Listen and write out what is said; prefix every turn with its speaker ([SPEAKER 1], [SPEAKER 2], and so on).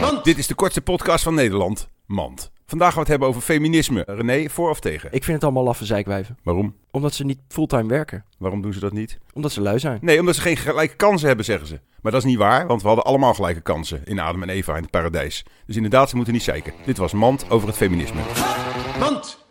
[SPEAKER 1] Mand.
[SPEAKER 2] Dit is de kortste podcast van Nederland, Mand. Vandaag gaan we het hebben over feminisme. René, voor of tegen?
[SPEAKER 1] Ik vind het allemaal laffe zeikwijven.
[SPEAKER 2] Waarom?
[SPEAKER 1] Omdat ze niet fulltime werken.
[SPEAKER 2] Waarom doen ze dat niet?
[SPEAKER 1] Omdat ze lui zijn.
[SPEAKER 2] Nee, omdat ze geen gelijke kansen hebben, zeggen ze. Maar dat is niet waar, want we hadden allemaal gelijke kansen in Adam en Eva in het paradijs. Dus inderdaad, ze moeten niet zeiken. Dit was Mand over het feminisme.
[SPEAKER 3] Mand.